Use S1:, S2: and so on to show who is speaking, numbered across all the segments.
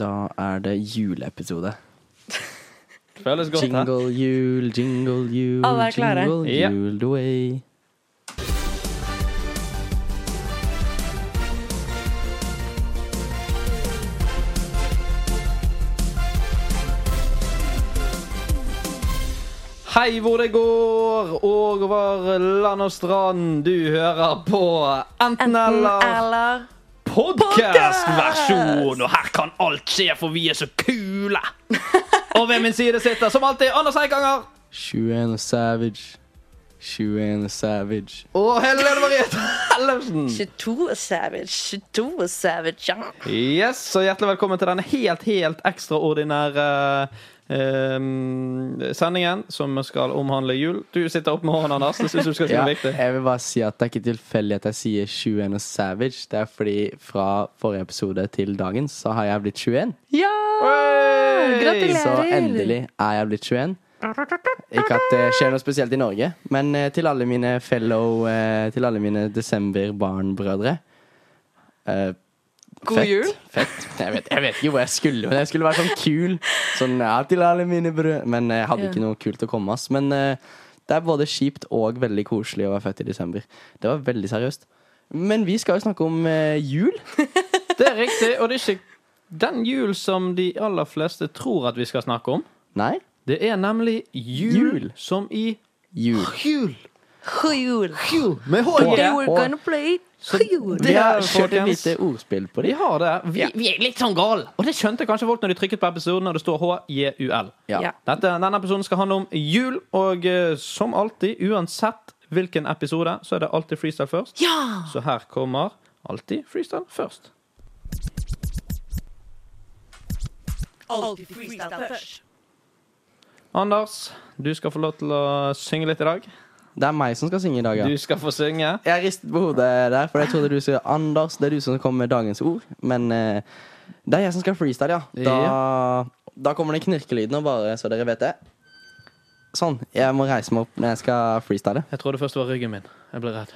S1: Da er det juleepisode.
S2: Føles godt, hæ?
S1: Jingle jul, jingle jul,
S3: Alle er klare.
S1: jingle
S2: Ja.
S1: jul the way.
S2: Hei hvor det går, og over land og strand. Du hører på Enten eller
S3: eller
S2: podkastversjon. Og her kan alt skje, for vi er så kule. Og ved min side sitter som alltid Anders Eikanger
S1: Shuana Savage. Shuana Savage.
S2: og Helene Marie Tellefsen.
S3: 22 Savage, 22 Savage, ja.
S2: Yes, så Hjertelig velkommen til denne helt, helt ekstraordinære eh, sendingen som skal omhandle jul. Du sitter opp med hånden, Anders. Det syns du skal si
S1: Ja,
S2: noe viktig.
S1: jeg vil bare si at det er ikke tilfeldig at jeg sier 21 og Savage. Det er fordi fra forrige episode til dagens så har jeg blitt 21.
S3: Ja!
S2: Hey!
S3: Gratulerer.
S1: Så endelig er jeg blitt 21. Ikke at det skjer noe spesielt i Norge, men eh, til alle mine fellow eh, Til alle mine desember-barnbrødre. Eh,
S3: God
S1: fett,
S3: jul.
S1: Fett. Jeg vet, jeg vet ikke hvor jeg skulle, men jeg skulle være sånn kul. Sånn, ja, til alle mine brødre Men jeg hadde
S3: Ja.
S1: ikke noe kult å komme med. ass. Men eh, det er både kjipt og veldig koselig å være født i desember. Det var veldig seriøst. Men vi skal jo snakke om eh, jul.
S2: Det er riktig, og det er ikke den jul som de aller fleste tror at vi skal snakke om.
S1: Nei,
S2: Det er nemlig jul,
S1: Jul.
S2: som i
S1: jul.
S2: Jul!
S3: God jul.
S2: Med
S1: Og-
S3: Today
S2: H-J.
S3: we're
S1: og-
S3: gonna play God jul.
S1: Vi
S2: Det er,
S1: har fått et
S2: folkens.
S1: lite ordspill på
S2: Vi
S1: det.
S2: har det. Vi, vi er litt sånn gale. Og det skjønte kanskje folk når de trykket på episoden og det står H-J-U-L.
S3: Ja.
S2: Dette, denne episoden skal handle om jul, og eh, som alltid, uansett hvilken episode, så er det alltid freestyle først.
S3: Ja!
S2: Så her kommer alltid freestyle først.
S3: Alltid freestyle først.
S2: Anders, du skal få lov til å synge litt i dag.
S1: Det er meg som skal synge i dag, ja.
S2: Du skal få synge.
S1: Jeg ristet på hodet der, for jeg trodde du skulle Anders, det er du som kommer med dagens ord. Men eh, det er jeg som skal freestyle, ja. Da, da kommer den knirkelyden, og bare så dere vet det. Sånn. Jeg må reise meg opp når jeg skal freestyle.
S2: Jeg trodde først det var ryggen min. Jeg ble redd.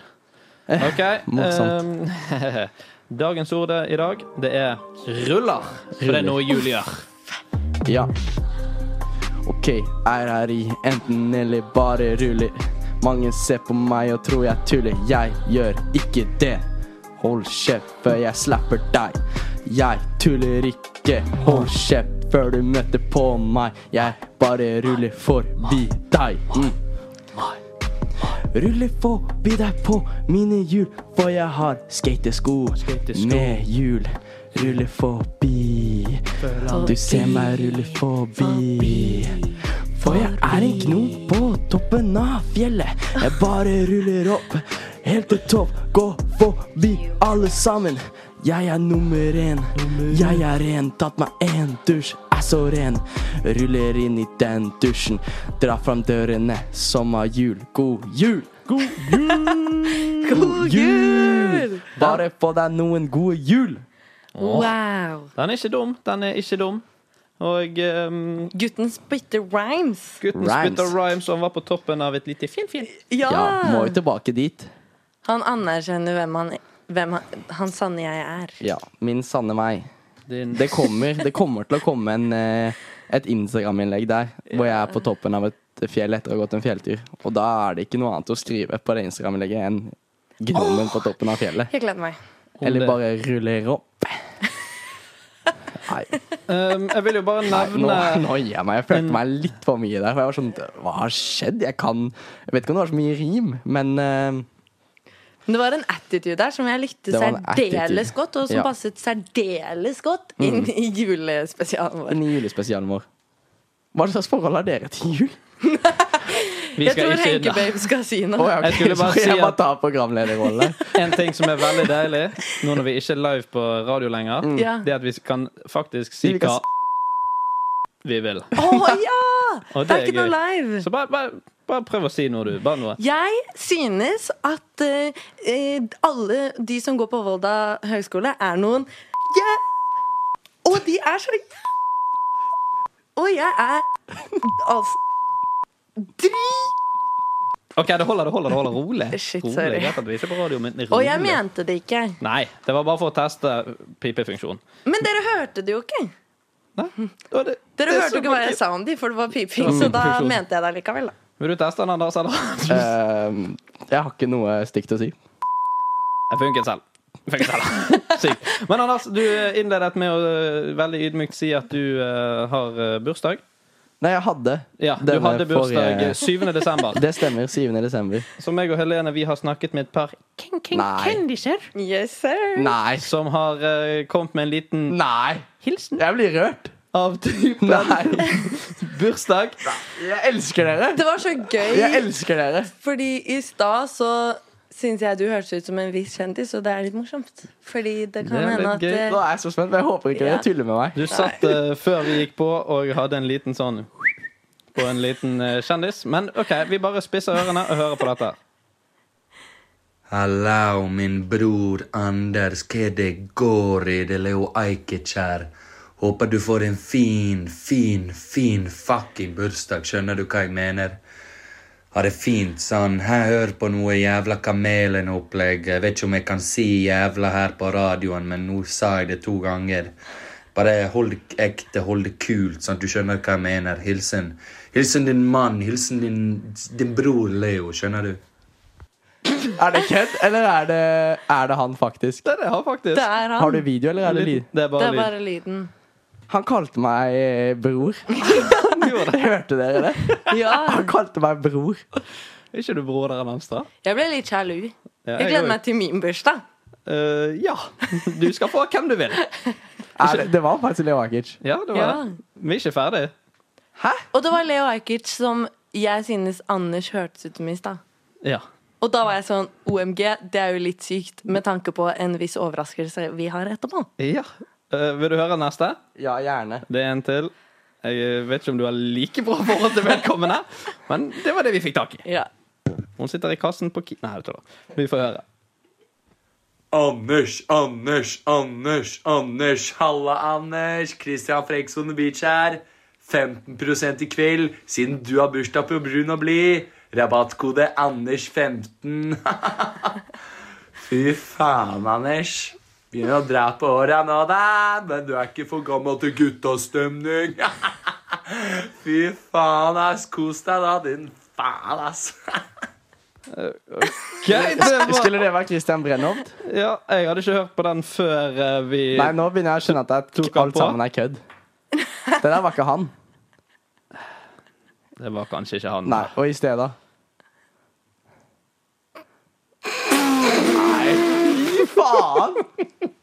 S2: OK.
S1: Eh, Morsomt.
S2: ehm, dagens ord i dag, det er ruller. For det er noe Julie gjør.
S1: Ja. OK, er her i enten eller bare ruller. Mange ser på meg og tror jeg tuller. Jeg gjør ikke det. Hold kjeft før jeg slapper deg. Jeg tuller ikke. Hold kjeft før du møter på meg. Jeg bare ruller forbi deg. Mm. Ruller forbi deg på mine hjul, for jeg har skatesko
S2: Skatesko.
S1: med hjul. Ruller forbi. Du ser meg rulle forbi. For jeg er en gnom på toppen av fjellet. Jeg bare ruller opp helt til topp. Gå forbi alle sammen. Jeg er nummer én. Jeg er ren. Tatt meg en dusj. Er så ren. Ruller inn i den dusjen. Dra fram dørene som har jul. God jul! God
S3: God jul!
S1: Bare få deg noen gode jul.
S3: Wow.
S2: Den er ikke dum. Den er ikke dum. Og ehm,
S3: Gutten spytter rhymes.
S2: gutten
S1: Rhymes.
S2: spytta rhymes, og han var på toppen av et lite fjellfjell.
S3: Ja.
S1: Ja, må jo tilbake dit.
S3: Han anerkjenner hvem han, hvem han, han sanne jeg er.
S1: Ja, min sanne meg.
S2: Din
S1: Det kommer, det kommer til å komme en, eh, et Instagram-innlegg der hvor jeg er på toppen av et fjell etter å ha gått en fjelltur. Og da er det ikke noe annet å skrive på det Instagram-innlegget enn gnommen på toppen av fjellet.
S3: Jeg gleder meg.
S1: Eller
S2: det-
S1: bare ruller opp. Nei,
S2: Ehm, Jeg vil jo bare
S1: nei nå,
S2: nevne
S1: nå gir jeg meg. Jeg følte meg litt for mye der. For jeg var sånn Hva har skjedd? Jeg kan Jeg vet ikke om det var så mye rim, men eh,
S3: Men det var en attitude der som jeg likte
S1: Det var en
S3: særdeles
S1: attitude.
S3: godt, og som
S1: Ja.
S3: passet særdeles godt inn i julespesialen vår.
S1: den nye julespesialen vår. Hva slags forhold har dere til jul?
S2: Vi
S3: Jeg
S2: skal
S3: tror
S2: ikke
S3: Henke Babe skal si noe.
S1: Å, ja, ok,
S2: Jeg skulle bare
S1: sorry,
S2: si
S1: jeg bare
S2: at-
S1: tar programlederrollen der.
S2: En ting som er veldig deilig nå når vi ikke er live på radio lenger,
S3: Ja.
S2: det er at vi kan faktisk si
S1: Mm. Vi kan
S2: hva
S1: s-
S2: vi vil.
S3: Å ja!
S2: Og
S3: Det
S2: det
S3: er
S2: er
S3: ikke noe
S2: gøy.
S3: live.
S2: Så bare, bare, bare prøv å si noe, du. Bare noe.
S3: Jeg synes at eh, eh, alle de som går på Volda høgskole, er noen ja. Og de er så ja. Og jeg er altså dri...
S2: Ok, det holder, det holder, det holder. Rolig.
S3: Shit,
S2: rolig.
S3: sorry.
S2: Greit at vi ikke er på radio, men rolig.
S3: Og jeg mente det ikke.
S2: Nei, det var bare for å teste pipefunksjonen.
S3: Men dere hørte det jo ikke.
S2: Da er det- det
S3: Dere
S2: er
S3: hørte
S2: så
S3: ikke hva
S2: mye-
S3: jeg sa om de, for det var piping,
S2: Mm.
S3: så da
S2: Funksjon.
S3: mente jeg det likevel. Da.
S2: Vil du teste den, Anders? Eller?
S1: Ehm, jeg har ikke noe stygt å si.
S2: Jeg funket selv. Funket selv. Sykt. Men Anders, du innledet med å øh, veldig ydmykt si at du øh, har øh, bursdag.
S1: Nei, jeg hadde.
S2: Ja, du
S1: Denne
S2: hadde bursdag
S1: forrige-
S2: 7. desember.
S1: Det stemmer. 7. desember.
S2: Så meg og Helene vi har snakket med et par king, king,
S1: Nei.
S2: kendiser
S3: Yes, sir.
S1: Nei.
S2: som har øh, kommet med en liten
S1: Nei.
S2: hilsen
S1: Jeg blir rørt.
S2: av typen
S1: Nei.
S2: bursdag.
S1: Jeg elsker dere.
S3: Det var så
S1: Jeg
S3: gøy,
S1: elsker dere.
S3: fordi i stad så syns jeg du hørtes ut som en viss kjendis, og det er litt morsomt. Fordi det
S2: Det
S3: kan
S2: er
S3: hende
S2: litt
S3: at
S2: gøy.
S3: eh,
S1: Nå er jeg så spent, men jeg håper ikke dere
S3: Ja.
S1: tuller med meg.
S2: Du satt øh, før vi gikk på og hadde en liten sånn på en liten øh, kjendis. Men OK, vi bare spisser ørene og hører på dette.
S4: Hallau, min bror Anders, hva det går i? Det er Leo Ajkekjær. Håper du får en fin, fin, fin fucking bursdag. Skjønner du hva jeg mener? Ha det fint, sann. Her hør på noe jævla Kamelen-opplegg. Jeg vet ikke om jeg kan si jævla her på radioen, men nå sa jeg det to ganger. Bare hold det ekte, hold det kult, sånn at du skjønner hva jeg mener. Hilsen. Hilsen din mann. Hilsen din, din bror Leo, skjønner du?
S1: Er det kødd, eller er det, er det han faktisk?
S2: Det er det jeg har, faktisk.
S3: det er
S1: Har
S3: han.
S1: du video, eller er det lyd?
S2: Det er
S3: Det
S2: bare
S3: er
S2: lyd.
S3: bare lyden.
S1: Han kalte meg eh, bror.
S2: gjorde
S1: Hørte dere det?
S3: Ja.
S1: Han kalte meg bror.
S2: Er ikke du bror der, Namstad?
S3: Jeg ble litt sjalu.
S2: Ja,
S3: Jeg
S2: jeg
S3: gleder meg til min bursdag.
S2: Eh, ja. Du skal få hvem du vil.
S1: Er det, det var faktisk Leo Ajkic.
S2: Ja, det var
S3: Ja.
S2: det. Vi er ikke ferdig.
S3: Og det var Leo Ajkic som jeg synes Anders hørtes ut som i stad.
S2: Ja.
S3: Og da var jeg sånn OMG, det er jo litt sykt med tanke på en viss overraskelse vi har etterpå.
S2: ja. Eh, vil du høre neste?
S1: Ja, gjerne.
S2: Det er en til. Jeg eh, vet ikke om du har like bra forhold til vedkommende, men det var det vi fikk tak i.
S3: Ja.
S2: Hun sitter i kassen på Ki... Nei, jeg tuller. Vi får høre.
S4: Anders, Anders, Anders, Anders. Halla, Anders. Christian Frekk on the beach her. 15 i kveld, siden du har bursdag på Brun og blid. Rabattkode Anders15. Fy faen, Anders. Begynner å dra på åra nå, da. Men du er ikke for gammel til guttastemning. Fy faen, ass. Kos deg, da, din faen, ass.
S2: Greit, det var...
S1: Skulle det være Christian Brennhoft?
S2: Ja, jeg hadde ikke hørt på den før eh, vi
S1: Nei, nå begynner jeg å skjønne at det,
S2: Tok han
S1: alt
S2: på?
S1: sammen er kødd. Det der var ikke han.
S2: Det var kanskje ikke han.
S1: Nei, og i stedet Nei, fy faen!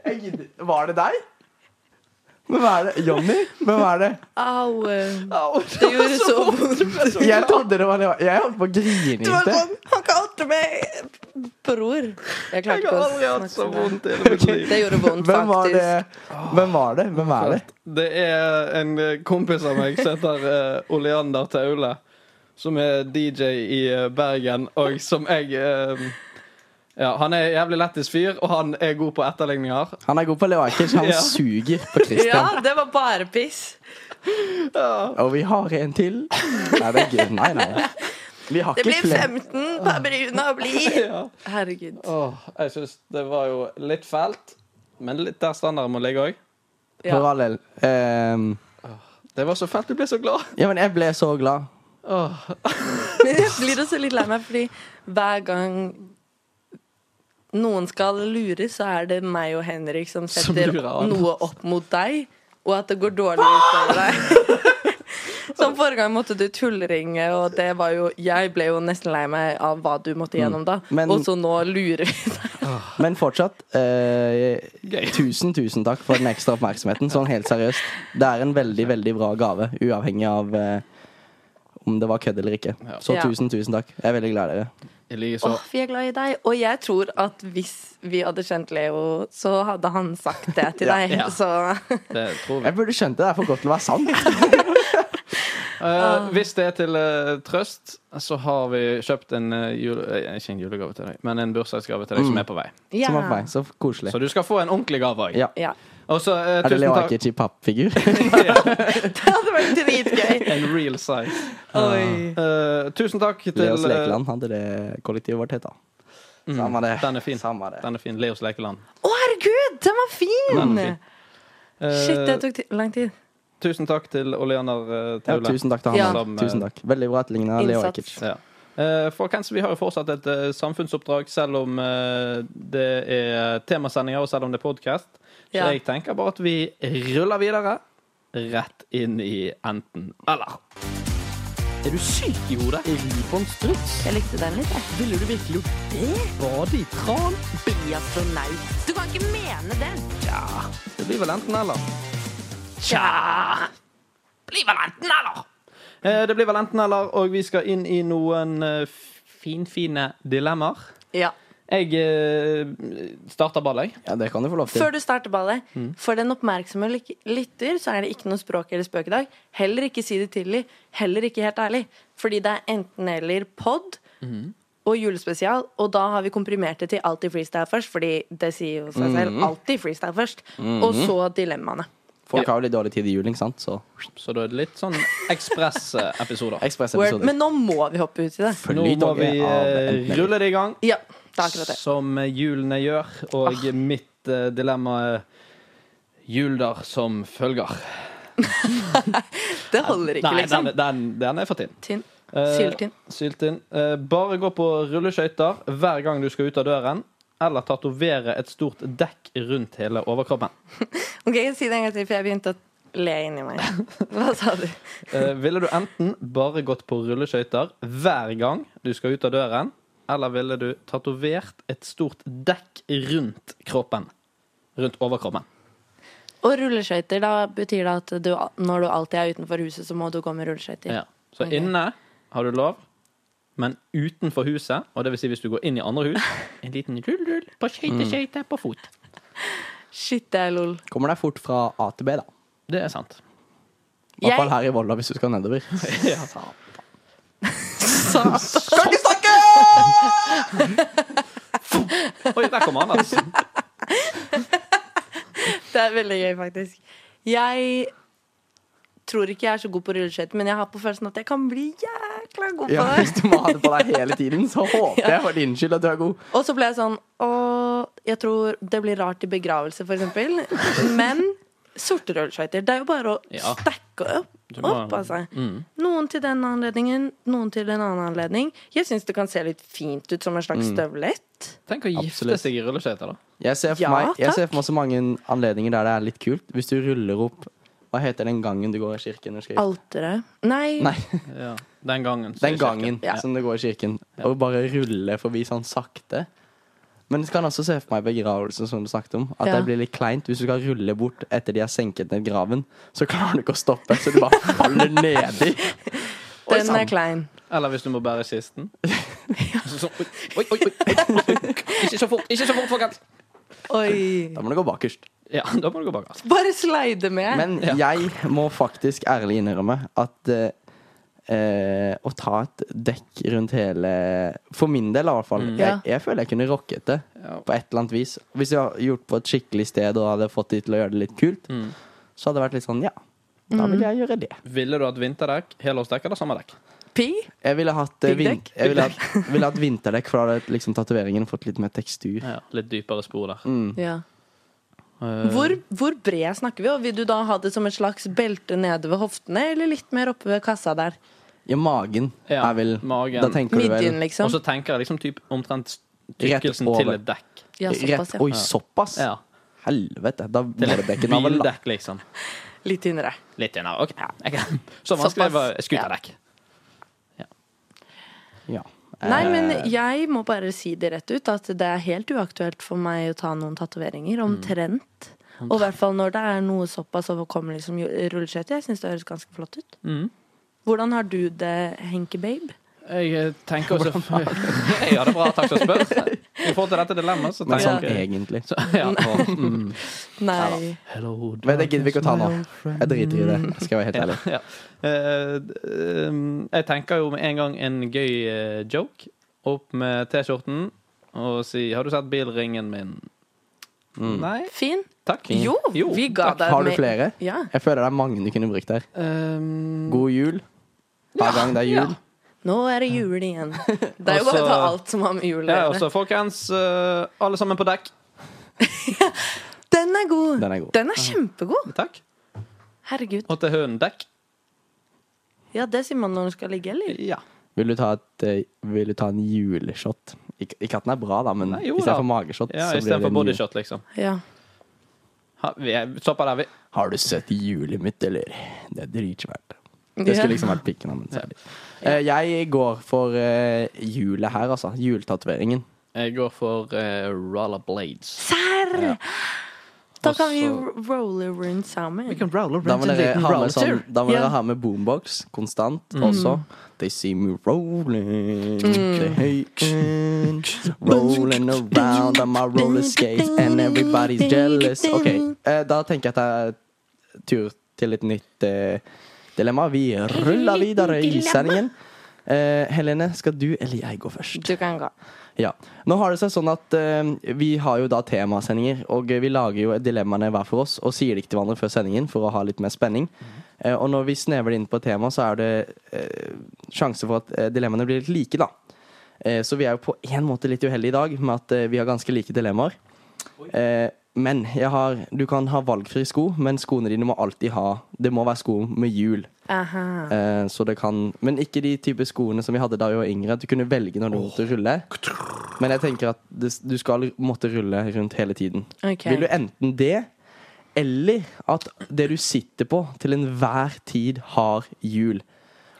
S1: Jeg gidder- Var det deg? Men hva er det? Johnny? Men hva er det?
S3: Au. eh,
S2: Au,
S3: Det gjorde så vondt.
S1: Jeg trodde det var det Jeg holdt på å grine i sted.
S3: sånn, han kalte meg bror. Jeg klarte
S2: Jeg
S3: ikke
S2: har
S3: å
S2: aldri hatt
S3: snakke
S2: så
S3: sånn.
S2: vondt i hele mitt liv.
S3: Det gjorde vondt,
S1: Hvem var det?
S3: faktisk.
S1: Hvem var det? Hvem er det?
S2: Det er en eh, kompis av meg som heter eh, Oleander Taule, som er DJ i eh, Bergen, og som jeg eh, Ja, han er jævlig lættis fyr, og han er god på etterligninger.
S1: Han er god på Leo Ajkic. Han
S2: Ja.
S1: suger på Christian.
S3: Ja, det var bare piss.
S1: Og vi har en til. Nei, det er gøy. Nei, nei. Vi har
S3: Det
S1: ikke
S3: blir
S1: flere.
S3: 15 på Bruna og blid.
S2: Ja.
S3: Herregud.
S2: Åh, jeg syns det var jo litt fælt, men litt der standarden må ligge òg.
S1: For
S3: Ja.
S1: all del. Ehm,
S2: Det var så fælt, du ble så glad.
S1: ja, men jeg ble så glad.
S2: Åh,
S3: Men jeg blir også litt lei meg, fordi hver gang noen skal lure, så er det meg og Henrik som
S2: Som
S3: setter
S2: lurer han.
S3: noe opp mot deg, og at det går dårlig utover deg. Som forrige gang måtte du tullringe, og det var jo Jeg ble jo nesten lei meg av hva du måtte gjennom da,
S1: Mm. Men-
S3: og så nå lurer vi deg.
S1: Men fortsatt, eh,
S2: Gøy.
S1: tusen, tusen takk for den ekstra oppmerksomheten. Sånn helt seriøst. Det er en veldig, veldig bra gave, uavhengig av eh, om det var kødd eller ikke. Så
S3: Ja.
S1: tusen, tusen takk. Jeg er veldig glad i dere.
S2: I like så.
S3: Åh, vi er glad i deg. Og jeg tror at hvis vi hadde kjent Leo, så hadde han sagt det til
S1: Ja.
S3: deg.
S2: Ja.
S3: Så
S2: Det tror vi.
S1: Jeg burde skjønt det. Det er for godt til å være sant.
S2: Eh, hvis det er til eh, trøst, så har vi kjøpt en eh, jule... eh, Ikke en julegave til deg, men en bursdagsgave til deg
S1: Mm.
S2: som er på vei.
S3: ja.
S1: Som var for meg. Så koselig.
S2: Så du skal få en ordentlig gave òg.
S1: Ja.
S3: ja.
S2: Og så eh,
S1: Er det
S2: tusen
S1: Leo
S2: takk.
S1: Ajkic i pappfigur?
S3: Det hadde vært dritgøy.
S2: En real size.
S3: Oi.
S2: Eh, tusen takk til
S1: Leos
S2: eh, mm,
S1: Lekeland hadde det kollektivet vårt het, da. Samme det.
S2: Den er fin.
S1: Samme det.
S2: Den er fin. Leos lekeland.
S3: Å, herregud, den var fin!
S2: Den er fin. Eh,
S3: Shit, det tok ti- lang tid.
S2: tusen takk til Oleander eh,
S1: Ja,
S2: Taule.
S1: tusen takk til han.
S3: Ja.
S1: Som, eh, Tusen takk. Veldig bra etterligna. Leo
S3: Innsats.
S1: Ajkic.
S2: Ja. Eh, folkens, vi har jo fortsatt et eh, samfunnsoppdrag, selv om eh, det er temasendinger og selv om det er podkast. Så
S3: Ja.
S2: jeg tenker bare at vi ruller videre rett inn i enten eller. Er du syk i hodet? Ri på en struts?
S3: Jeg likte den litt, jeg.
S2: Ville du virkelig gjort det?
S3: Eh?
S2: Bade i tran?
S3: Biastronaut. Du kan ikke mene den!
S2: Det blir vel enten eller.
S3: Tja! Blir vel enten, eller?
S2: Eh, det blir vel enten eller, og vi skal inn i noen eh, finfine dilemmaer.
S3: Ja.
S2: Jeg eh, starter ballet, jeg.
S1: Ja, det kan du få lov til.
S3: Før du starter ballet,
S2: Mm.
S3: for den oppmerksomme lyk- lytter, så er det ikke noe språk eller spøk i dag. Heller ikke si det tidlig. Heller ikke helt ærlig. Fordi det er enten-eller pod
S2: Mm.
S3: og julespesial, og da har vi komprimert det til alltid freestyle først, fordi det sier jo seg
S2: Mm.
S3: selv. Alltid freestyle først. Og så dilemmaene.
S1: Folk har jo litt dårlig tid i juling, sant? Så
S2: Så da er det litt sånn ekspress-episoder.
S3: Word.
S1: ekspressepisoder.
S3: Men nå må vi hoppe ut i det.
S2: Nå må vi eh, rulle det i gang,
S3: Ja, det er akkurat det. Ah.
S2: som hjulene gjør. Og mitt eh, dilemma er julder som følger.
S3: Det holder ikke,
S2: Nei,
S3: liksom.
S2: den, den, den er for tynn.
S3: Tynn.
S2: Eh,
S3: Syltynn.
S2: Syltynn. Eh, bare gå på rulleskøyter hver gang du skal ut av døren, eller tatovere et stort dekk rundt hele overkroppen.
S3: Ok, Si det en gang til, for jeg begynte å le inni meg. Hva sa du?
S2: Eh, ville du enten bare gått på rulleskøyter hver gang du skal ut av døren, eller ville du tatovert et stort dekk rundt kroppen? Rundt overkroppen.
S3: Og rulleskøyter, da betyr det at du, når du alltid er utenfor huset, så må du gå med rulleskøyter.
S2: Ja. Så
S3: Ok.
S2: inne har du lov, men utenfor huset, og det vil si hvis du går inn i andre hus, en liten rull-rull på skøyte-skøyte
S1: Mm.
S2: på fot.
S3: Shit, det er lol.
S1: Kommer deg fort fra A til B, da.
S2: Det er sant.
S1: I hvert
S3: Jeg-
S1: fall her i Volda, hvis du skal nedover.
S3: Satan.
S2: Oi, der altså. kom Anders.
S3: Det er veldig gøy, faktisk. Jeg tror ikke jeg er så god på rulleskøyter, men jeg har på følelsen at jeg kan bli jækla god på
S1: Ja,
S3: det.
S1: hvis du må ha det på deg hele tiden, så håper jeg for din skyld at du er god.
S3: Og så ble jeg sånn Å, jeg tror det blir rart i begravelse, for eksempel. Men sorte rulleskøyter. Det er jo bare å
S2: Ja.
S3: stacke opp.
S2: Du må- Mm.
S3: Opp, altså. Noen til den anledningen, noen til en annen anledning. Jeg syns det kan se litt fint ut som en slags
S2: Mm.
S3: støvlett.
S2: Tenk å gifte
S1: Absolutt.
S2: seg i rulleskøyter, da.
S1: Jeg ser for,
S3: Ja,
S1: meg, jeg
S3: takk.
S1: ser for meg så mange anledninger der det er litt kult. Hvis du ruller opp Hva heter den gangen du går i kirken? og skal-
S3: Alteret. Nei.
S1: Nei,
S2: Ja. Den gangen. så
S1: den
S2: er
S1: gangen
S3: Ja.
S1: som du går i kirken. Og bare rulle forbi sånn sakte. Men jeg kan også se for meg begravelsen, som du snakket om. At
S3: Ja.
S1: det blir litt kleint hvis du skal rulle bort etter de har senket ned graven. Så klarer du ikke å stoppe, så du bare faller nedi. Oi,
S3: Den
S1: sann.
S3: er klein.
S2: Eller hvis du må bære kisten. Så, så, oi, oi, oi, oi, oi. Ikke så fort, ikke så fort, folkens!
S3: Oi.
S1: Da må du gå bakerst.
S2: Ja, da må du gå bak. Altså.
S3: Bare slide med.
S1: Men jeg må faktisk ærlig innrømme at eh, eh, å ta et dekk rundt hele For min del, i hvert fall. Jeg, jeg føler jeg kunne rocket det
S2: Ja.
S1: på et eller annet vis. Hvis jeg hadde gjort på et skikkelig sted og hadde fått de til å gjøre det litt kult, så hadde det vært litt sånn Ja,
S3: Mm.
S1: da vil jeg gjøre det.
S2: Ville du hatt vinterdekk, helårsdekk eller sommerdekk?
S3: Pi.
S1: Jeg ville hatt, eh, vin
S3: Piggdekk?
S1: jeg ville hatt, ville hatt vinterdekk, for da hadde liksom tatoveringen fått litt mer tekstur.
S2: Ja, litt dypere spor der.
S1: Mm.
S3: Ja.
S2: Eh,
S3: Hvor, hvor bred snakker vi? Og vil du da ha det som et slags belte nede ved hoftene, eller litt mer oppe ved kassa der?
S1: Ja, magen
S2: Ja,
S1: er vel
S2: magen.
S1: Da tenker du vel
S3: Midjen, liksom?
S2: Og så tenker jeg liksom typ, omtrent
S1: Rett
S2: tykkelsen
S1: over.
S2: til et dekk.
S3: Ja, såpass,
S1: rett,
S3: ja.
S1: Oi, såpass?
S2: Ja.
S1: Helvete. Da
S2: Til
S1: var det
S2: et
S1: bekken av vel
S2: bildekk, liksom.
S3: Litt tynnere.
S2: Litt tynnere. OK. Jeg kan- Så vanskelig var skuterdekk.
S1: Ja.
S3: Nei,
S1: Eh,
S3: men jeg må bare si det rett ut, at det er helt uaktuelt for meg å ta noen tatoveringer. Mm. Omtrent. Og i hvert fall når det er noe såpass overkommelig som jo- rulleskøyter. Jeg syns det høres ganske flott ut. Hvordan har du det, Henke babe?
S2: Jeg eh, tenker også Jeg har det bra, takk som spør. I forhold til dette dilemmaet, så
S1: Men sånn
S2: tenker jeg
S1: egentlig.
S2: så, ja. og-
S3: Nei.
S2: Hello,
S1: Men det gidder vi ikke å ta nå. Jeg driter i det. Skal jeg være helt ærlig.
S2: ja. Eh, ehm, jeg tenker jo med en gang en gøy eh, joke. Opp med T-skjorten og si 'Har du sett bilringen min?' Nei?
S3: Fin?
S2: Takk.
S3: Jo, vi ga
S2: takk.
S3: deg
S1: Har du
S3: med-
S1: flere?
S3: Ja.
S1: Jeg føler det er mange du kunne brukt der.
S2: Ehm,
S1: God jul. Hver gang det er jul.
S3: Nå er det jul igjen. Det er jo bare
S2: Også-
S3: å ta alt som har med jul å
S2: ja, og
S3: gjøre.
S2: så folkens, eh, alle sammen på dekk.
S3: Den er god.
S1: Den er god.
S3: kjempegod.
S2: Takk.
S3: Herregud.
S2: Og til hønen dekk.
S3: Ja, det sier man når den skal ligge, eller?
S2: Ja.
S1: Vil du ta, et, eh, vil du ta en juleshot? Ikke, ikke at den er bra, da, men
S2: Nei, jo da.
S1: istedenfor mageshot.
S2: ja
S1: så blir det
S2: Istedenfor
S1: en jul-
S2: bodyshot, liksom.
S3: Ja.
S2: Ha, vi er, stopper der, vi.
S1: Har du sett hjulet mitt, eller? Det er dritsvært. Det
S3: Ja.
S1: skulle liksom vært pikken hans. Ja. Eh, Jeg går for eh, hjulet her, altså. Hjultatoveringen.
S2: Jeg går for eh, rollerblades.
S3: Serr! Da kan vi
S2: Og
S3: ro- rolle rundt sammen.
S2: Vi kan roller
S1: Da må dere ha med, sånn, da må
S3: Ja.
S1: dere ha med boombox konstant også. They see me rolling, they hating, rolling around on my roller skates, and everybody's jealous. Ok, eh, da tenker jeg at det er tur til et nytt eh, dilemma. Vi ruller videre i sendingen. Eh, Helene, skal du eller jeg gå først?
S3: Du kan gå.
S1: Ja. Nå har det seg sånn at eh, vi har jo da temasendinger, og eh, vi lager jo dilemmaene hver for oss og sier det ikke til hverandre før sendingen for å ha litt mer spenning. Eh, og når vi snever det inn på et tema, så er det eh, sjanse for at eh, dilemmaene blir litt like, da. Eh, så vi er jo på en måte litt uheldige i dag med at eh, vi har ganske like dilemmaer. Eh, men jeg har, du kan ha valgfri sko, men skoene dine må alltid ha Det må være sko med hjul.
S3: Aha.
S1: Eh, så det kan Men ikke de type skoene som vi hadde da vi var yngre. At du kunne velge når du måtte rulle. Men jeg tenker at det, du skal måtte rulle rundt hele tiden.
S3: Ok.
S1: Vil du enten det, eller at det du sitter på til enhver tid, har hjul.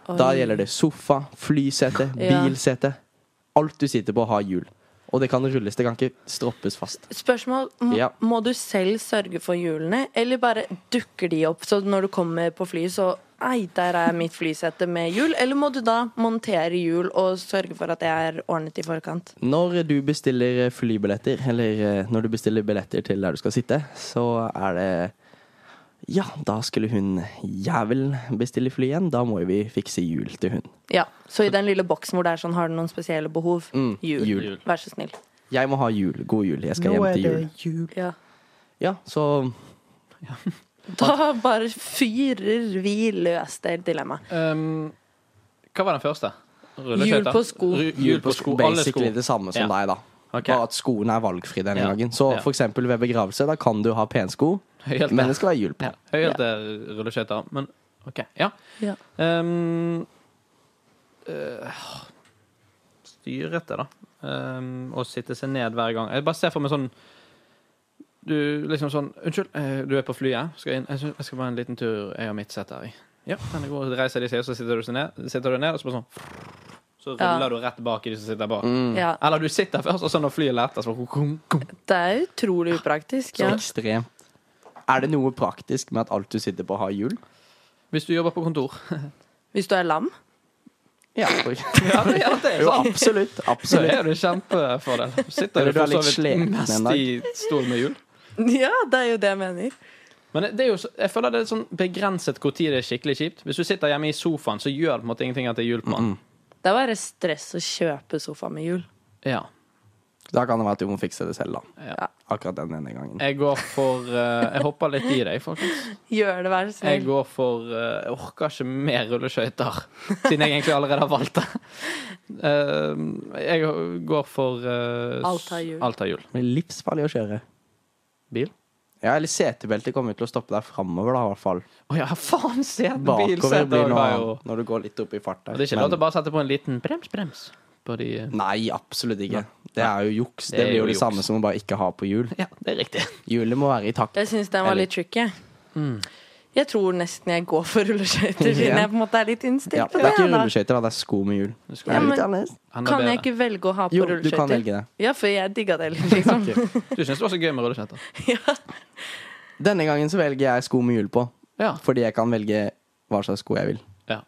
S1: Da
S3: Oi.
S1: gjelder det sofa, flysete,
S3: Ja.
S1: bilsete. Alt du sitter på, har hjul. Og det kan rulles. Det kan ikke stroppes fast.
S3: Spørsmål må,
S1: Ja.
S3: må du selv sørge for hjulene, eller bare dukker de opp? Så når du kommer på fly, så Ei, der er mitt flysete med hjul. Eller må du da montere hjul og sørge for at det er ordnet i forkant?
S1: Når du bestiller flybilletter, eller eh, når du bestiller billetter til der du skal sitte, så er det Ja, da skulle hun jævel bestille fly igjen. Da må jo vi fikse hjul til hun.
S3: Ja, Så i den lille boksen hvor det er sånn, har du noen spesielle behov?
S1: Mm,
S3: Hjul.
S1: hjul.
S3: Vær så snill.
S1: Jeg må ha jul. God jul. Jeg skal hjem til jul.
S3: Ja.
S1: Ja, så
S3: Da bare fyrer vi løs det dilemmaet.
S2: Um, hva var den første?
S3: Hjul på sko.
S2: Ru- Hjul på sko. Alle sko.
S1: Basically det samme som
S2: Ja.
S1: deg, da.
S2: Ok.
S1: Bare at skoene er valgfrie denne
S2: Ja.
S1: gangen. Så
S2: Ja.
S1: for eksempel ved begravelse, da kan du ha pensko,
S2: Helt
S1: men
S2: der.
S1: det skal være hjul på.
S2: Ja. Høyhælte rulleskøyter. Men OK. Ja.
S3: Ja.
S2: Um, øh, styrete, da. Um, å sitte seg ned hver gang. Jeg bare ser for meg sånn Du liksom sånn Unnskyld, eh, du er på flyet. Skal inn. Jeg skal- jeg skal bare en liten tur. Jeg har mitt sett her. i. Ja, den er god. Så Reiser de seg, så sitter du, seg ned, sitter du ned, og så bare sånn Så ruller
S3: Ja.
S2: du rett bak i de som sitter bak.
S1: Mm.
S3: ja.
S2: Eller du sitter først, og så når flyet letter, så bare kum, kum.
S3: Det er utrolig upraktisk.
S1: Så
S3: Ja.
S1: ekstremt. Er det noe praktisk med at alt du sitter på, har hjul?
S2: Hvis du jobber på kontor.
S3: Hvis du er lam.
S1: Ja, for-
S2: Ja, det, ja, det er
S1: Jo,
S2: sant.
S1: absolutt.
S2: Så
S1: absolutt.
S2: er det en kjempefordel. Sitter
S1: Eller
S2: du
S1: du er
S2: for så
S1: litt
S2: vidt
S1: sliten en
S2: mest
S1: dag.
S2: i stol med hjul.
S3: Ja, det er jo det jeg mener.
S2: Men det er jo, så- jeg føler det er sånn begrenset hvor tid det er skikkelig kjipt. Hvis du sitter hjemme i sofaen, så gjør det på en måte ingenting at det er jul på den.
S3: Det er bare stress å kjøpe sofa med hjul.
S2: Ja.
S1: Da kan det være at du må fikse det selv, da.
S2: Ja.
S1: Akkurat den ene gangen.
S2: Jeg går for eh, Jeg hopper litt i deg, folkens.
S3: Gjør det, vær så
S2: Jeg
S3: snill.
S2: går for eh, Jeg orker ikke mer rulleskøyter, siden jeg egentlig allerede har valgt det. Eh, jeg går for eh,
S3: Alt har hjul.
S2: Alt har hjul.
S1: Det blir livsfarlig å kjøre.
S2: Bil?
S1: Ja, eller setebelte kommer jo til å stoppe deg framover, da, i hvert fall.
S2: Å ja, faen! Se,
S1: Bakover blir
S2: bilsetet
S1: noe
S2: var jo
S1: annet når du går litt opp i fart der.
S2: Det er ikke lov til å bare sette på en liten brems, brems. På de eh,
S1: Nei, absolutt ikke. Det er jo juks.
S2: Det
S1: Det
S2: er
S1: blir
S2: jo
S1: jo det
S2: juks.
S1: samme som å bare ikke ha på hjul.
S2: Ja, det er riktig.
S1: Hjulet må være i takt.
S3: Jeg syns den var
S1: Eller-
S3: litt tricky. Jeg tror nesten jeg går for rulleskøyter, siden
S1: Ja.
S3: jeg på en måte er litt
S1: Ja,
S3: instinktiv.
S1: det er ikke
S3: jeg, da.
S1: rulleskøyter, da. Det er sko med hjul.
S2: sko
S1: Det er
S3: med
S1: litt
S3: hjul.
S1: annerledes.
S2: Enda
S3: Kan
S2: bedre.
S3: jeg ikke velge å ha på
S1: Jo, du kan
S3: rulleskøyter?
S1: velge det.
S3: Ja, for jeg digga det, liksom.
S2: Du syns det var så gøy med rulleskøyter?
S1: Denne gangen så velger jeg sko med hjul på,
S2: Ja.
S1: fordi jeg kan velge hva slags sko jeg vil.
S2: ja.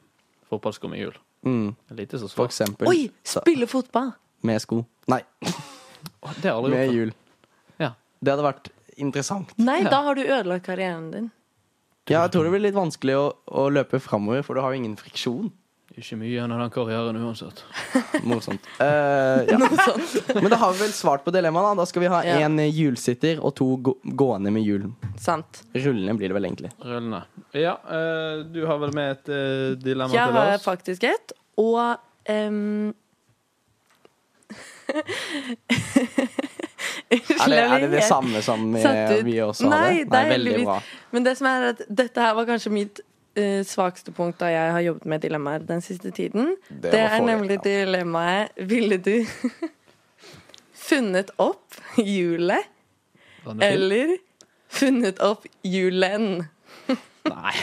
S2: Fotballsko med hjul.
S1: Mm,
S2: Lite så
S1: for
S2: svart.
S1: eksempel.
S3: Oi!
S1: Så-
S3: Spille fotball!
S1: Med sko. Nei,
S2: Å, Det har jeg aldri
S1: med
S2: gjort.
S1: hjul.
S2: Ja.
S1: Det hadde vært interessant.
S3: Nei,
S2: Ja.
S3: da har du ødelagt karrieren din.
S1: Ja, jeg tror det blir litt vanskelig å, å løpe framover, for du har jo ingen friksjon.
S2: Det er Ikke mye gjennom den karrieren uansett.
S1: Morsomt. Eh, ja. Men da har vi vel svart på dilemmaet. Da Da skal vi ha
S3: Ja.
S1: én hjulsitter og to gå gående med hjul.
S3: Sant.
S1: Rullende blir det vel egentlig.
S2: Rullende. Ja, eh, du har vel med et eh, dilemma
S3: Jeg
S2: til
S3: har
S2: oss?
S3: faktisk et, og em,
S1: Er det, er det det
S3: helt
S1: samme som eh,
S3: satt ut.
S1: vi også
S3: Nei,
S1: hadde?
S3: det er heldigvis- Men det som er at dette her var kanskje mitt eh, svakeste punkt da jeg har jobbet med dilemmaer den siste tiden.
S1: Det
S3: Det,
S1: var
S3: er
S1: forrige,
S3: nemlig
S1: ja.
S3: dilemmaet Ville du funnet opp hjulet
S2: Den er fin.
S3: eller funnet opp julen?
S1: Nei.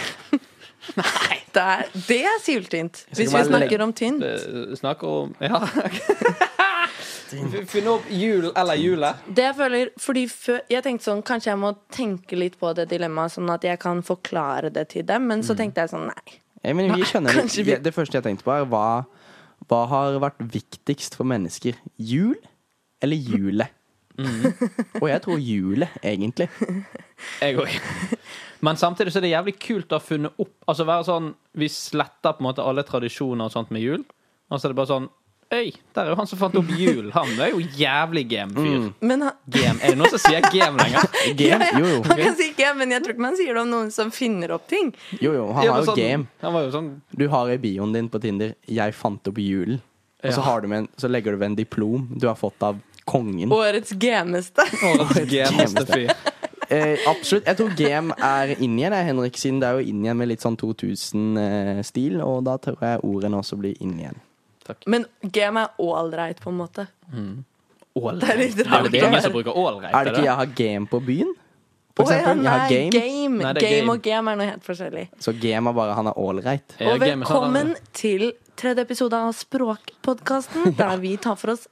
S3: Det er, det er syltynt.
S1: skal
S3: Hvis vi
S1: bare legge-
S3: snakker om tynt.
S2: Det snakker Eh, om Ja. Finne opp jul eller julet.
S3: Det jeg føler, fordi før, jeg tenkte sånn, Kanskje jeg må tenke litt på det dilemmaet, sånn at jeg kan forklare det til dem. Men
S1: Mm.
S3: så tenkte jeg sånn, nei.
S1: Ja, Eh, men vi skjønner
S3: kanskje
S1: det.
S3: vi-
S1: Det første jeg tenkte på, er hva, hva har vært viktigst for mennesker? Jul eller julet?
S3: Mm.
S1: Og jeg tror julet, egentlig.
S2: Jeg òg. Men samtidig så er det jævlig kult å ha funnet opp Altså være sånn Vi sletter på en måte alle tradisjoner og sånt med jul. Og så er det bare sånn Øy, der er jo han som fant opp jul. Han er jo jævlig game-fyr.
S3: Men han,
S2: Game. Er det noen som sier game lenger?
S1: Game?
S3: Ja, ja.
S1: Jo, jo.
S3: Han kan si ikke, men jeg tror ikke man sier det om noen som finner opp ting.
S1: Jo, jo, han
S2: Ja,
S1: har
S2: men
S1: jo
S2: sånn-
S1: game.
S2: Han var jo sånn
S1: Du har i bioen din på Tinder 'Jeg fant opp julen', og så,
S2: Ja.
S1: har du med en, så legger du ved en diplom du har fått av kongen.
S3: Årets gameste.
S2: årets gameste fyr.
S1: Eh, absolutt. Jeg tror GM er inn igjen, jeg, Henrik, siden det er jo inn igjen med litt sånn 2000-stil. og da tror jeg ordene også blir inn igjen.
S3: Men game er ålreit, på en måte. Det er
S2: Ålreit.
S3: litt
S2: Det er
S3: rart.
S2: jo det ingen som bruker ålreit.
S1: Er det ikke 'jeg har game på byen'? For
S3: Å ja,
S1: eksempel, jeg har
S3: nei,
S1: game,
S3: game.
S2: Nei, det er
S3: game.
S2: game.
S3: og game er noe helt forskjellig.
S1: så GM er bare 'han er ålreit'.
S2: Ja,
S3: Og
S2: game er sånn,
S3: velkommen til tredje episode av Språkpodkasten, der vi tar for oss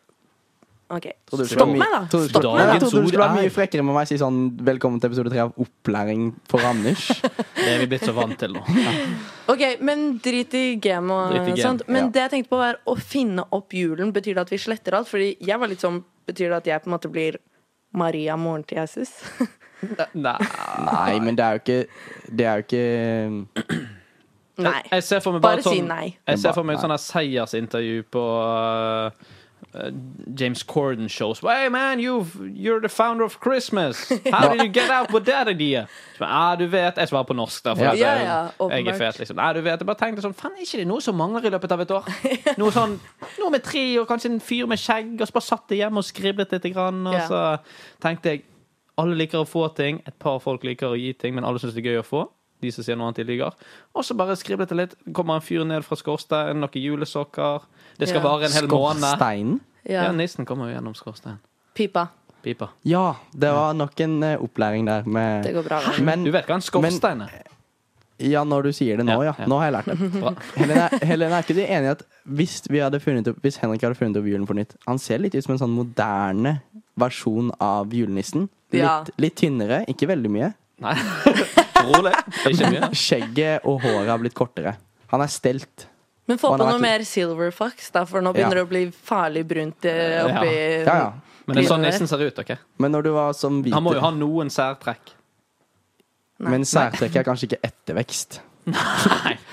S3: OK.
S1: Trodde du skulle
S3: Stopp
S1: være mye-
S3: meg, da.
S1: trodde du
S3: Stopp
S1: skulle- Nei,
S3: meg,
S2: Dagens
S1: jeg trodde du skulle
S2: ord
S1: være
S2: er-
S1: mye frekkere med meg og si sånn 'velkommen til episode tre av Opplæring for Anders'.
S2: Det er vi blitt så vant til nå.
S3: da. OK, men drit i game og
S2: Drit i game,
S3: sånt. Men
S1: ja.
S3: det jeg tenkte på, var å finne opp julen. Betyr det at vi sletter alt? Fordi jeg var litt sånn Betyr det at jeg på en måte blir Maria moren til Jesus?
S2: Nei.
S1: Nei, men det er jo ikke Det er jo ikke um,
S3: Nei.
S2: Jeg ser for meg
S3: Bare
S2: bare,
S3: si
S2: sånn,
S3: nei.
S2: Jeg ser for meg et sånt her seiersintervju på uh, James Corden shows. Hey man, you've, you're the founder of Christmas. How did you get out with that idea? Så, ah, du vet, Jeg svarer på norsk. da for
S1: Ja.
S2: at
S3: Ja,
S2: jeg-
S3: ja,
S2: Jeg er
S3: åpenbart.
S2: fet, liksom. Nei, du vet, jeg bare tenkte sånn Faen, er ikke det noe som mangler i løpet av et år? Noe sånn, noe med tre og kanskje en fyr med skjegg, og så bare satt jeg hjemme og skriblet litt. Grann, og
S3: Ja.
S2: så tenkte jeg alle liker å få ting. Et par folk liker å gi ting, men alle syns det er gøy å få. De som sier noe annet de liker. Og så bare skriblet det litt. Kommer en fyr ned fra skorsteinen, noen julesokker. Det skal
S3: Ja.
S2: vare en hel måned.
S1: Skorsteinen?
S2: Ja,
S3: Ja.
S2: nissen kommer jo gjennom skorsteinen.
S3: Pipa.
S2: Pipa.
S1: Ja, det var nok en eh, opplæring der med
S3: Det går bra. Vanja.
S1: Men
S2: Du vet hva en skorstein er?
S1: Ja, når du sier det nå,
S2: Ja,
S1: ja.
S2: ja.
S1: Nå har jeg lært det.
S2: Bra.
S1: Helene, er- Helene, er ikke du enig i at hvis, vi hadde funnet opp, hvis Henrik hadde funnet opp julen på nytt Han ser litt ut som en sånn moderne versjon av julenissen. Litt,
S3: Ja.
S1: litt tynnere, ikke veldig mye.
S2: Nei. Rolig. Det er Ikke mye.
S1: Skjegget og håret har blitt kortere. Han er stelt.
S3: Men få
S1: Og
S3: på
S1: han har
S3: noe
S1: vært-
S3: mer Silver Fox, da, for nå begynner det å bli farlig brunt eh, oppi
S1: Ja, ja.
S2: Men det er sånn nissen ser ut. ok?
S1: Men når du var som hvit
S2: Han må jo ha noen særtrekk.
S1: Men særtrekket er kanskje ikke ettervekst.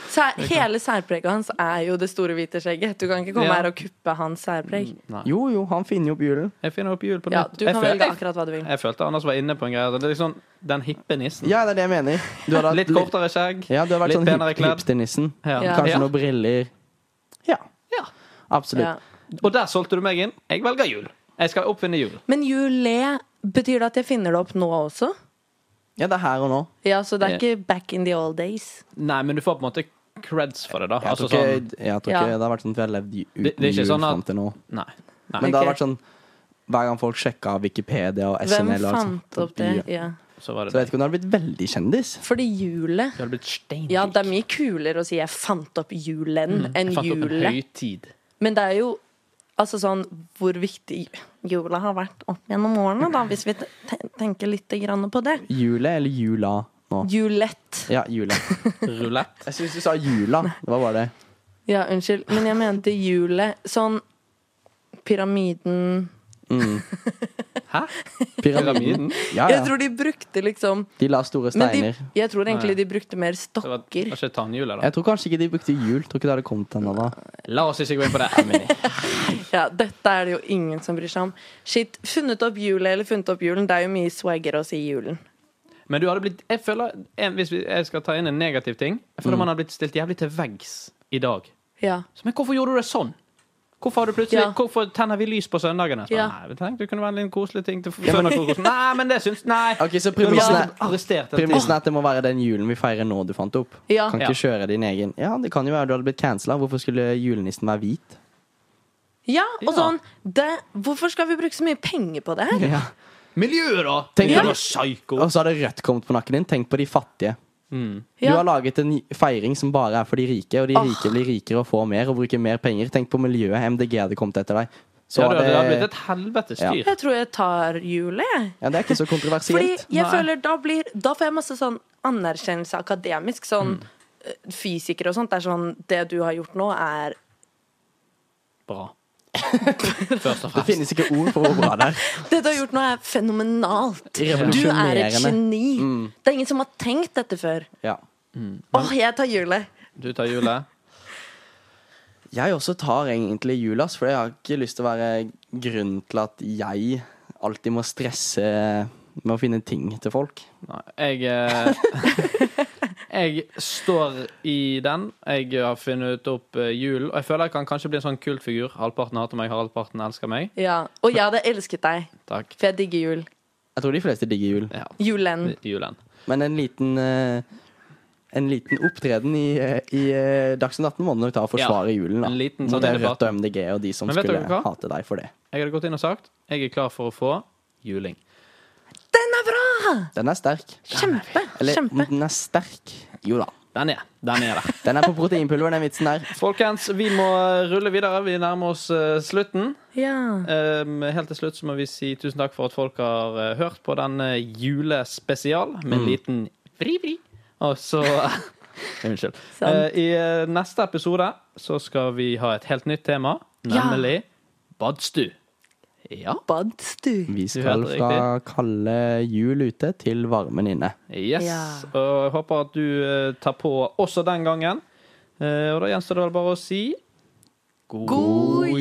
S3: Sær, Hele særpreget hans er jo det store hvite skjegget. Du kan ikke komme
S2: Ja.
S3: her og kuppe hans særpreg.
S2: Nei.
S1: Jo, jo, han finner jo opp julen.
S2: Jeg finner opp jul på
S3: Ja,
S2: nytt.
S3: du
S2: Jeg
S3: kan
S2: føl-
S3: velge
S2: jeg-
S3: akkurat hva du vil.
S2: Jeg følte Anders var inne på en greie. Det er liksom den hippe nissen.
S1: Ja, det er det jeg mener. Du hadde hatt
S2: Litt kortere skjegg.
S1: Ja, du har vært
S2: litt
S1: sånn
S2: penere
S1: hip,
S2: kledd.
S1: hipsternissen.
S2: Ja.
S3: Ja.
S1: Kanskje noen briller. Ja,
S2: Ja.
S1: absolutt.
S3: Ja.
S2: Og der solgte du meg inn. Jeg velger jul. Jeg skal oppfinne jul.
S3: Men jule, betyr det at jeg finner det opp nå også?
S1: Ja, det er her og nå.
S3: Ja, Så det er ikke back in the old days.
S2: Nei, men du får på en måte creds for det, da.
S1: Jeg tror
S2: Altså,
S1: ikke,
S2: sånn,
S1: jeg tror
S3: Ja.
S1: ikke det har vært sånn at vi har levd i- uten
S2: Det- det er ikke
S1: jul
S2: sånn at-
S1: fram til nå.
S2: nei. nei.
S1: Men det har
S3: Ok.
S1: vært sånn hver gang folk sjekka Wikipedia og
S3: Hvem
S1: SNL og alt sånt,
S3: fant opp det?
S1: Ja.
S3: Ja.
S2: Så var det
S1: Så jeg vet ikke om det hadde blitt veldig kjendis.
S3: Fordi julet
S2: Du hadde blitt steinrik.
S3: Ja, det er mye kulere å si 'jeg fant opp julen'
S2: Mm,
S3: enn
S2: Jeg fant opp en
S3: jule.
S2: høytid.
S3: Men det er jo altså sånn hvor viktig jula har vært opp gjennom årene, da, hvis vi te- tenker litt grann på det.
S1: Jule eller jula nå?
S3: Julett.
S1: Ja, jule.
S2: Rulett.
S1: Jeg syns du sa jula. Det var bare det.
S3: Ja, unnskyld, men jeg mente julet. Sånn pyramiden
S2: Hæ?
S1: Pyramiden. Ah, Ja,
S3: Jeg
S1: ja.
S3: tror de brukte liksom
S1: De la store
S3: men de,
S1: steiner.
S3: Jeg tror egentlig de brukte mer
S2: Det var, det
S3: stokker.
S2: var ikke tannhjulet, da.
S1: Jeg tror kanskje ikke de brukte jul. Tror ikke det hadde kommet ennå da.
S2: La oss ikke gå inn på det. Emily.
S3: Ja, Dette er det jo ingen som bryr seg om. Shit, Funnet opp julet eller funnet opp julen, det er jo mye swaggere å si julen.
S2: Men du hadde blitt Jeg føler en, Hvis vi- jeg skal ta inn en
S1: Mm.
S2: negativ ting Jeg føler man hadde blitt stilt jævlig til veggs i dag.
S3: Ja,
S2: Så, men hvorfor gjorde du det sånn? Hvorfor, har du plutselig,
S3: Ja.
S2: hvorfor tenner vi lys på søndagene? Så,
S3: Ja.
S2: Nei, vi tenkte det kunne være en liten koselig ting til søndagskrokosen. Nei, men det syns Nei!
S1: Ok, Så
S2: Nå er vi
S1: premissen
S2: alle
S1: er,
S2: arrestert. hele tiden.
S1: premissen er at det må være den julen vi feirer nå du fant opp.
S3: Ja.
S1: Kan
S2: Ja.
S1: ikke kjøre din egen. Ja, Det kan jo være du hadde blitt cancela. Hvorfor skulle julenissen være hvit?
S3: Ja, og
S2: Ja.
S3: sånn det, Hvorfor skal vi bruke så mye penger på det her?
S1: Ja.
S2: Ah, Miljøet, da!
S1: Tenk
S2: ja.
S1: på-
S2: psyko.
S1: Og så hadde rødt kommet på nakken din. Tenk på de fattige. Du
S3: Ja,
S1: har laget en feiring som bare er for de rike, og de
S3: Åh.
S1: rike blir rikere og får mer og bruker mer penger. Tenk på miljøet. MDG hadde kommet etter deg. Så
S2: Ja, det, det har
S1: hadde-
S2: blitt et helvetes
S1: Ja.
S2: styr.
S3: jeg tror jeg tar jul, jeg.
S1: ja, det er ikke så
S3: Fordi
S1: kontroversielt.
S3: jeg
S2: Nei.
S3: føler da blir Da får jeg masse sånn anerkjennelse akademisk. Sånn eh, fysikere og sånt. Det er sånn Det du har gjort nå, er
S2: Bra. Først og
S1: Det
S2: fremst.
S1: finnes ikke ord for hvor bra det er.
S3: Det du har gjort nå, er fenomenalt. Du er et
S1: Revolusjonerende.
S3: geni. Det er ingen som har tenkt dette før.
S1: Ja.
S3: Åh, jeg tar hjulet.
S2: Du tar hjulet.
S1: Jeg også tar egentlig julas, for jeg har ikke lyst til å være grunnen til at jeg alltid må stresse med å finne ting til folk.
S2: Nei, jeg eh, Jeg står i den. Jeg har funnet opp eh, julen. Og jeg føler jeg kan kanskje bli en sånn kultfigur. Halvparten hater meg, halvparten elsker meg.
S3: Ja. Og jeg hadde elsket deg,
S2: Takk.
S3: for jeg digger jul.
S1: Jeg tror de fleste digger jul,
S2: Ja,
S3: Julen.
S1: Mm.
S2: julen.
S1: men en liten eh, en liten opptreden i, eh, i eh, Dagsnytt 18 må du nok ta og forsvare julen. da
S2: En liten
S1: Mot
S2: sånn
S1: det
S2: debatt.
S1: Rødt og MDG og de som
S2: Men vet
S1: skulle
S2: dere hva?
S1: hate deg for det.
S2: Jeg hadde gått inn og sagt jeg er klar for å få juling.
S3: Den er bra! mm.
S1: Den er sterk.
S3: Kjempe.
S1: Eller om
S3: Kjempe.
S1: den er sterk. Jo da.
S2: Den er, den er der.
S1: Den er på proteinpulver, den vitsen der.
S2: Folkens, vi må eh, rulle videre. Vi nærmer oss eh, slutten.
S3: Ja.
S2: Ehm, helt til slutt så må vi si tusen takk for at folk har eh, hørt på denne julespesial med en liten vri-vri. Og så Unnskyld.
S3: Sant.
S2: Eh, I eh, neste episode så skal vi ha et helt nytt tema,
S3: Ja.
S2: nemlig badstue. Ja.
S3: Badstue.
S1: Vi skal
S2: hørte
S1: fra kalde jul ute til varmen inne.
S2: Yes.
S3: Ja.
S2: Og jeg håper at du eh, tar på også den gangen. Eh, og da gjenstår det vel bare å si
S3: God